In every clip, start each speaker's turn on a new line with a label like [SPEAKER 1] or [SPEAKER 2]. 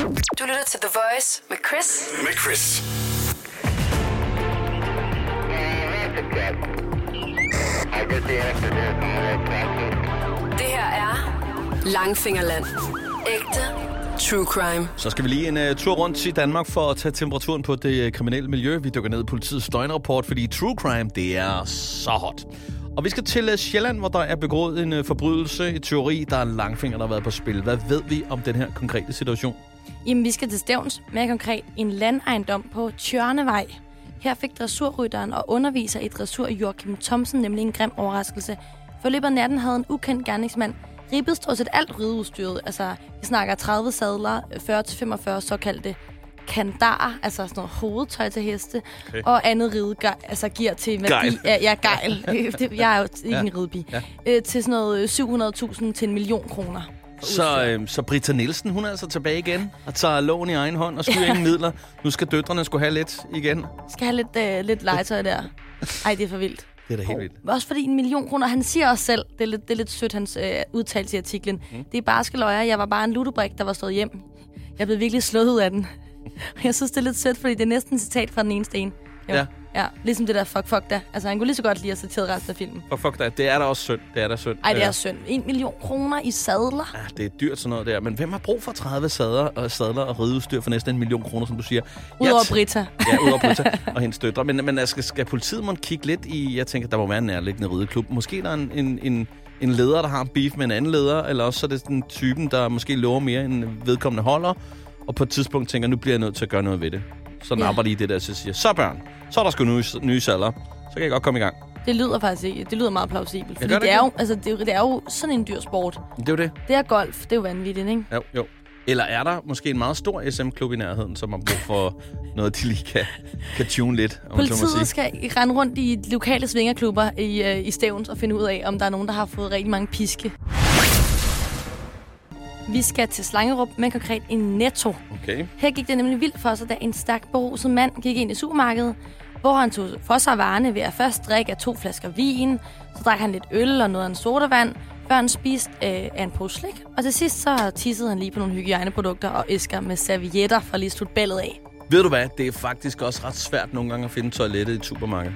[SPEAKER 1] Du lytter til The Voice med Chris.
[SPEAKER 2] Med Chris.
[SPEAKER 3] I guess you have to do some more practice.
[SPEAKER 1] Det her er Langfingerland. Ægte true crime.
[SPEAKER 4] Så skal vi lige en uh, tur rundt i Danmark for at tage temperaturen på det øh, kriminelle miljø. Vi dykker ned i politiets døgnrapport, fordi true crime, det er så hot. Og vi skal til uh, Sjælland, hvor der er begået en uh, forbrydelse i teori, der er langfinger, der har været på spil. Hvad ved vi om den her konkrete situation?
[SPEAKER 5] Jamen, vi skal til Stævns, mere konkret en landejendom på Tjørnevej. Her fik dressurrytteren og underviser i dressur Joachim Thomsen nemlig en grim overraskelse. For i løbet af natten havde en ukendt gerningsmand ribbet stort set alt rideudstyret. Altså, vi snakker 30 sadler, 40-45 såkaldte kandarer, altså sådan noget hovedtøj til heste, okay. og andet ride, altså gear til værdi.
[SPEAKER 4] Gejl.
[SPEAKER 5] Ja, ja, gejl. Det- Jeg er jo ikke en ridebi.
[SPEAKER 4] Ja.
[SPEAKER 5] Ja. Øh, til sådan noget øh, 700.000 til en million kroner. for
[SPEAKER 4] Så, øh, så Britta Nielsen, hun er altså tilbage igen og tager loven i egen hånd og skyer ingen midler. Nu skal døtrene skulle have lidt igen.
[SPEAKER 5] skal have lidt, øh, lidt legetøj der. Ej, det er for vildt.
[SPEAKER 4] Det er da helt vildt.
[SPEAKER 5] Også fordi en million kroner, han siger også selv, det er lidt, det er lidt sødt, hans øh, udtalelse i artiklen. Mm. Det er barske løjer, jeg var bare en ludobrik, der var slået hjem. Jeg blev virkelig slået ud af den. Og jeg synes, det er lidt sødt, fordi det er næsten et citat fra den ene sten. Jo.
[SPEAKER 4] Ja.
[SPEAKER 5] ja. Ligesom det der fuck fuck da. Altså, han kunne lige så godt lige at citeret resten af filmen.
[SPEAKER 4] Og fuck dig, det er da også synd. Det er da synd.
[SPEAKER 5] Ej, det
[SPEAKER 4] Øh,
[SPEAKER 5] er synd. En million kroner i sadler.
[SPEAKER 4] Ja, det er dyrt sådan noget der, men hvem har brug for 30 sadler og, sadler og rideudstyr for næsten en million kroner, som du siger? Jeg
[SPEAKER 5] Udover
[SPEAKER 4] t-
[SPEAKER 5] Britta.
[SPEAKER 4] Ja, udover Britta og hendes døtre. Men, men skal, skal politiet måske kigge lidt i, jeg tænker, der må være en nærliggende rideklub. Måske der er en, en, en, en leder, der har en beef med en anden leder, eller også så er det den typen, der måske lover mere end vedkommende holder, og på et tidspunkt tænker, nu bliver jeg nødt til at gøre noget ved det. Så
[SPEAKER 5] Ja.
[SPEAKER 4] napper de i det der, så siger, så børn, så er der sgu nye, nye sadler. Så kan jeg godt komme i gang.
[SPEAKER 5] Det lyder faktisk ikke. Det lyder meget plausibelt. Fordi
[SPEAKER 4] gør det
[SPEAKER 5] det, det, er
[SPEAKER 4] ikke
[SPEAKER 5] jo, altså, det, er jo- det er jo sådan en dyr sport.
[SPEAKER 4] Det er jo det.
[SPEAKER 5] Det er golf. Det er jo vanvittigt, ikke?
[SPEAKER 4] Jo, jo. Eller er der måske en meget stor SM-klub i nærheden, som har brug for noget, de lige kan, kan tune lidt, om man så må sige.
[SPEAKER 5] Politiet skal rende rundt i de lokale svingerklubber i, øh, i Stævns og finde ud af, om der er nogen, der har fået rigtig mange piske. Vi skal til Slangerup, men konkret i Netto.
[SPEAKER 4] Okay.
[SPEAKER 5] Her gik det nemlig vildt for sig, da en stærkt beruset mand gik ind i supermarkedet, hvor han tog for sig varerne ved at først drikke af to flasker vin, så drak han lidt øl og noget af en sodavand, før han spiste øh, af en pose slik, og til sidst så tissede han lige på nogle hygiejneprodukter og æsker med servietter for at lige at slutte ballet af.
[SPEAKER 4] Ved du hvad, det er faktisk også ret svært nogle gange at finde toilettet i et supermarked.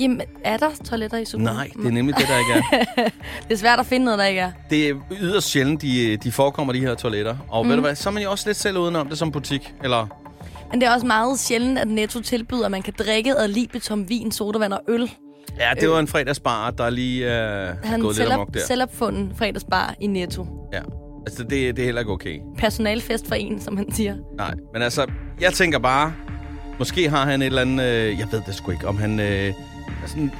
[SPEAKER 5] Jamen, er der toiletter i
[SPEAKER 4] Nej,
[SPEAKER 5] supermarkedet?
[SPEAKER 4] det er nemlig det, der ikke er.
[SPEAKER 5] Det er svært at finde noget, der ikke er.
[SPEAKER 4] Det er yderst sjældent, de, de forekommer, de her toiletter. Og mm. ved du hvad, så er man jo også lidt selv udenom det som butik. Eller
[SPEAKER 5] Men det er også meget sjældent, at Netto tilbyder, at man kan drikke ad libitum, vin, sodavand og øl.
[SPEAKER 4] Ja, det var en fredagsbar, der lige øh, er
[SPEAKER 5] Øh. Han
[SPEAKER 4] gået lidt
[SPEAKER 5] selv,
[SPEAKER 4] amok der.
[SPEAKER 5] selv opfunden fredagsbar i Netto.
[SPEAKER 4] Ja. Altså, det, det er heller ikke okay.
[SPEAKER 5] Personalfest for en, som han siger.
[SPEAKER 4] Nej, men altså, jeg tænker bare, måske har han et eller andet, øh, jeg ved det sgu ikke, om han, øh, er sådan,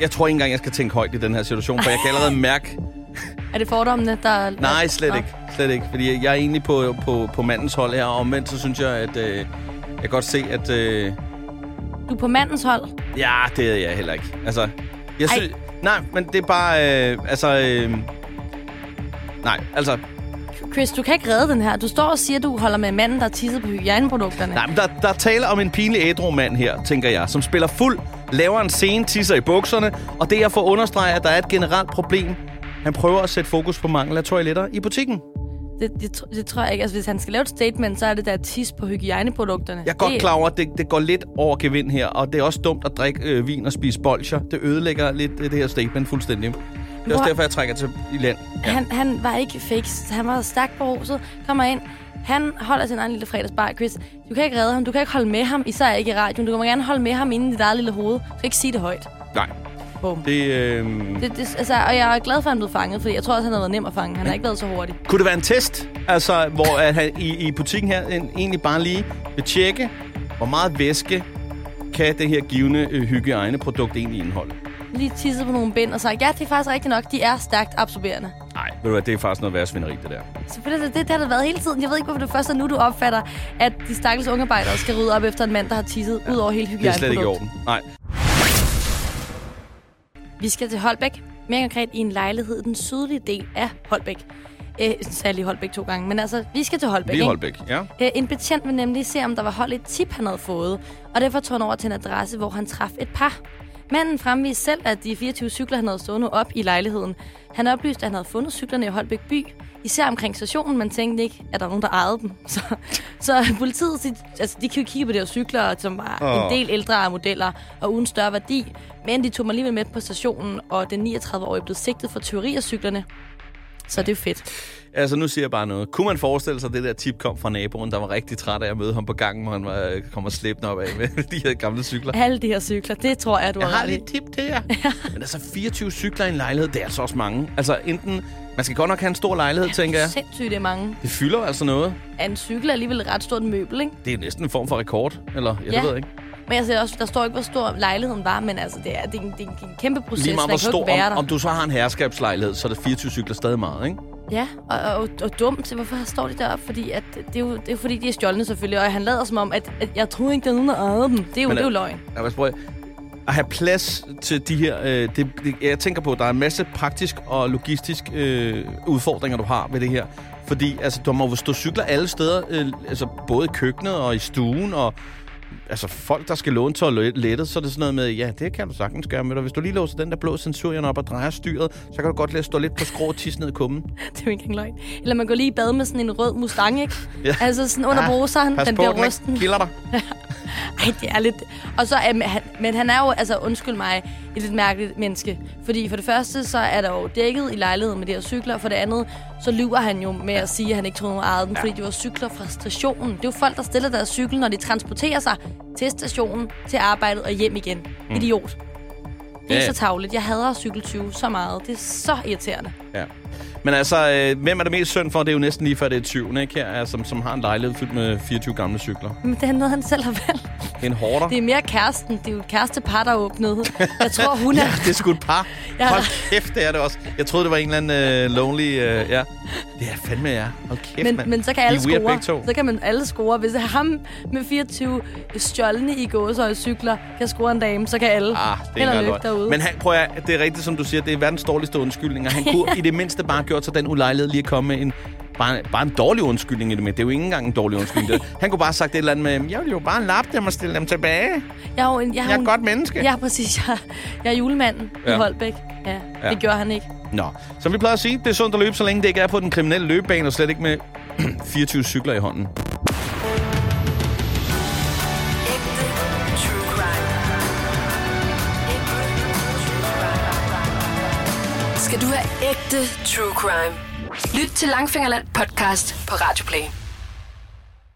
[SPEAKER 4] jeg tror ikke engang, jeg skal tænke højt i den her situation, for jeg kan allerede mærke,
[SPEAKER 5] Er det fordommene, der...
[SPEAKER 4] nej, slet
[SPEAKER 5] Nå.
[SPEAKER 4] ikke, slet ikke, fordi jeg er egentlig på, på, på mandens hold her, og omvendt, så synes jeg, at øh, jeg kan godt se, at øh,
[SPEAKER 5] Du er på mandens hold.
[SPEAKER 4] ja, det er jeg heller ikke. Altså, jeg
[SPEAKER 5] Ej.
[SPEAKER 4] synes, nej, men det er bare, øh, altså, øh, nej, altså,
[SPEAKER 5] Chris, du kan ikke redde den her. Du står og siger, at du holder med manden, der tissede på hygiejneprodukterne.
[SPEAKER 4] Nej, men der, der taler om en pinlig ædru mand her, tænker jeg, som spiller fuld, laver en scene, tisser i bukserne, og det er for at understrege, at der er et generelt problem. Han prøver at sætte fokus på mangel af toiletter i butikken.
[SPEAKER 5] Det, det, tr- det, tror jeg ikke. Altså, hvis han skal lave et statement, så er det der tis på hygiejneprodukterne.
[SPEAKER 4] Jeg er godt
[SPEAKER 5] det,
[SPEAKER 4] klar over, at det, det går lidt over gevind her, og det er også dumt at drikke øh, vin og spise bolcher. Det ødelægger lidt øh, det her statement fuldstændig. Det er også
[SPEAKER 5] Hvor-
[SPEAKER 4] derfor, jeg trækker til i land.
[SPEAKER 5] Ja. Han, han var ikke fix. Han var stærkt beruset. Kommer ind. Han holder sin egen lille fredagsbar, Chris. Du kan ikke redde ham. Du kan ikke holde med ham. Især ikke i radioen. Du må gerne holde med ham inde i dit eget lille hoved. Du kan ikke sige det højt.
[SPEAKER 4] Nej,
[SPEAKER 5] Bum.
[SPEAKER 4] det... Øh...
[SPEAKER 5] Det, det, altså, og jeg er glad for, at han blev fanget, fordi jeg tror også, han har været nem at fange. Han har ikke været så hurtig.
[SPEAKER 4] Kunne det være en test, altså, hvor at han, i, i butikken her en, egentlig bare lige vil tjekke, hvor meget væske kan det her givende øh, hygiejneprodukt egentlig indeholde?
[SPEAKER 5] Lige tisset på nogle bind og sagt, ja, det er faktisk rigtigt nok. De er stærkt absorberende.
[SPEAKER 4] Nej, ved du hvad, det er faktisk noget værre svineri, det der.
[SPEAKER 5] Selvfølgelig, det, det, det har det været hele tiden. Jeg ved ikke, hvorfor det først er nu, du opfatter, at de stakkels ungearbejdere skal rydde op efter en mand, der har tisset ja. ud over hele
[SPEAKER 4] Det er
[SPEAKER 5] hygiejneprodukt.
[SPEAKER 4] slet ikke i orden. Nej.
[SPEAKER 5] Vi skal til Holbæk. Mere konkret i en lejlighed i den sydlige del af Holbæk. Øh, særlig Holbæk to gange, men altså, vi skal til Holbæk.
[SPEAKER 4] Vi er
[SPEAKER 5] ikke?
[SPEAKER 4] Holbæk, ja.
[SPEAKER 5] Øh, en betjent vil nemlig se, om der var holdt et tip, han havde fået, og derfor tog han over til en adresse, hvor han traf et par. Manden fremviste selv, at de 24 cykler, han havde stående op i lejligheden. Han oplyste, at han havde fundet cyklerne i Holbæk by, især omkring stationen, men tænkte ikke, at der var nogen, der ejede dem. Så, så politiet, de, altså, de kan jo kigge på de her cykler, som var
[SPEAKER 4] Åh.
[SPEAKER 5] oh. en del ældre modeller og uden større værdi, men de tog mig alligevel med på stationen, og den 39-årige blev sigtet for teori af cyklerne. Så det er jo fedt.
[SPEAKER 4] Altså, nu siger jeg bare noget. Kunne man forestille sig, at det der tip kom fra naboen, der var rigtig træt af at møde ham på gangen, hvor han var, øh, kom og slæbte op af med de her gamle cykler?
[SPEAKER 5] Alle de her cykler, det tror jeg, du
[SPEAKER 4] Jeg
[SPEAKER 5] har
[SPEAKER 4] har
[SPEAKER 5] ret i.
[SPEAKER 4] lige et tip til jer. Men altså, 24 cykler i en lejlighed, det er altså også mange. Altså, enten... Man skal godt nok have en stor lejlighed, tænker jeg.
[SPEAKER 5] Sindssygt, det er mange.
[SPEAKER 4] Det fylder altså noget.
[SPEAKER 5] Er en cykel er alligevel et ret stort møbel, ikke?
[SPEAKER 4] Det er næsten en form for rekord, eller jeg
[SPEAKER 5] Ja.
[SPEAKER 4] ved ikke.
[SPEAKER 5] Men jeg ser også, der står ikke, hvor stor lejligheden var, men altså, det er, det er, en, det er en kæmpe proces.
[SPEAKER 4] Lige meget
[SPEAKER 5] man
[SPEAKER 4] hvor
[SPEAKER 5] kan jo
[SPEAKER 4] stor,
[SPEAKER 5] ikke være
[SPEAKER 4] om,
[SPEAKER 5] der.
[SPEAKER 4] om du så har en herskabslejlighed, så er det 24 cykler stadig meget, ikke?
[SPEAKER 5] Ja, og, og, og dumt. Hvorfor står de deroppe? Fordi at, det, er jo, det er jo fordi, de er stjålne selvfølgelig, og han lader som om, at, at jeg troede ikke, der er nogen, der ejede dem. Det er jo,
[SPEAKER 4] Men,
[SPEAKER 5] det er jo
[SPEAKER 4] øh,
[SPEAKER 5] løgn.
[SPEAKER 4] Ja, hvad spørger jeg? At have plads til de her... Øh, det, det, jeg tænker på, at der er en masse praktisk og logistisk øh, udfordringer, du har ved det her. Fordi altså, du må jo stå cykler alle steder, øh, altså både i køkkenet og i stuen, og altså folk, der skal låne toilettet, så er det sådan noget med, ja, det kan du sagtens gøre med dig. Hvis du lige låser den der blå sensurien op og drejer styret, så kan du godt lade stå lidt på skrå og tisse ned i kummen.
[SPEAKER 5] Det er jo ikke engang løgn. Eller man går lige i bad med sådan en rød mustang, ikke?
[SPEAKER 4] Ja. Ah,
[SPEAKER 5] ja. Altså sådan under bruseren,
[SPEAKER 4] Pas
[SPEAKER 5] den
[SPEAKER 4] på,
[SPEAKER 5] bliver
[SPEAKER 4] den ikke
[SPEAKER 5] rusten.
[SPEAKER 4] kilder dig.
[SPEAKER 5] Ej, det er lidt... Og så er, han, men han er jo, altså undskyld mig, et lidt mærkeligt menneske. Fordi for det første, så er der jo dækket i lejligheden med de her cykler. Og for det andet, så lyver han jo med at sige, at han ikke troede nogen ejede dem, fordi de var cykler fra stationen. Det er jo folk, der stiller deres cykel, når de transporterer sig til stationen, til arbejdet og hjem igen. Mm. Idiot. Det
[SPEAKER 4] Ja,
[SPEAKER 5] er
[SPEAKER 4] ja.
[SPEAKER 5] så tavligt. Jeg hader cykeltyve så meget. Det er så irriterende.
[SPEAKER 4] Ja. Men altså, øh, hvem er det mest synd for? Det er jo næsten lige før det er 20, ikke? Her, altså, som, som har en lejlighed fyldt med 24 gamle cykler.
[SPEAKER 5] Men det er noget, han selv har valgt.
[SPEAKER 4] Det er en hårder.
[SPEAKER 5] Det er mere kæresten. Det er jo et kærestepar, der åbnede. Jeg tror, hun
[SPEAKER 4] Ja,
[SPEAKER 5] er...
[SPEAKER 4] det er sgu et par.
[SPEAKER 5] Ja.
[SPEAKER 4] Hold kæft, det er det også. Jeg troede, det var en eller anden øh, lonely... Øh, ja. Det er fandme jer. Hold kæft,
[SPEAKER 5] men,
[SPEAKER 4] mand.
[SPEAKER 5] men så kan
[SPEAKER 4] I
[SPEAKER 5] alle
[SPEAKER 4] er weird
[SPEAKER 5] score.
[SPEAKER 4] begge to.
[SPEAKER 5] Så kan man alle score. Hvis ham med 24 stjålne i gåsøj cykler kan score en dame, så kan alle.
[SPEAKER 4] Ah, det
[SPEAKER 5] Held
[SPEAKER 4] er
[SPEAKER 5] og
[SPEAKER 4] ikke
[SPEAKER 5] lykke
[SPEAKER 4] godt.
[SPEAKER 5] derude.
[SPEAKER 4] Men han, prøv at, det er rigtigt, som du siger, det er verdens dårligste undskyldninger. Han kunne i det mindste bare gjort sig den ulejlighed lige at komme med en, bare, bare en dårlig undskyldning i det med. Det er jo ikke engang en dårlig undskyldning. Det er- han kunne bare have sagt et eller andet med, jeg vil jo bare lappe dem og stille dem tilbage.
[SPEAKER 5] Jeg er, jo en, jeg
[SPEAKER 4] Jeg er
[SPEAKER 5] jo
[SPEAKER 4] et
[SPEAKER 5] en-
[SPEAKER 4] godt menneske.
[SPEAKER 5] Ja, præcis. Jeg, jeg er julemanden ja.
[SPEAKER 4] Ja.
[SPEAKER 5] i Holbæk. Ja,
[SPEAKER 4] Ja.
[SPEAKER 5] ja, det gjorde han ikke.
[SPEAKER 4] Nå, som vi plejer at sige, det er sundt at løbe, så længe det ikke er på den kriminelle løbebane, og slet ikke med 24 cykler i hånden.
[SPEAKER 1] Ægte true crime. Ægte true crime. Skal du have ægte true crime? Lyt til Langfingerland podcast på Radio Play.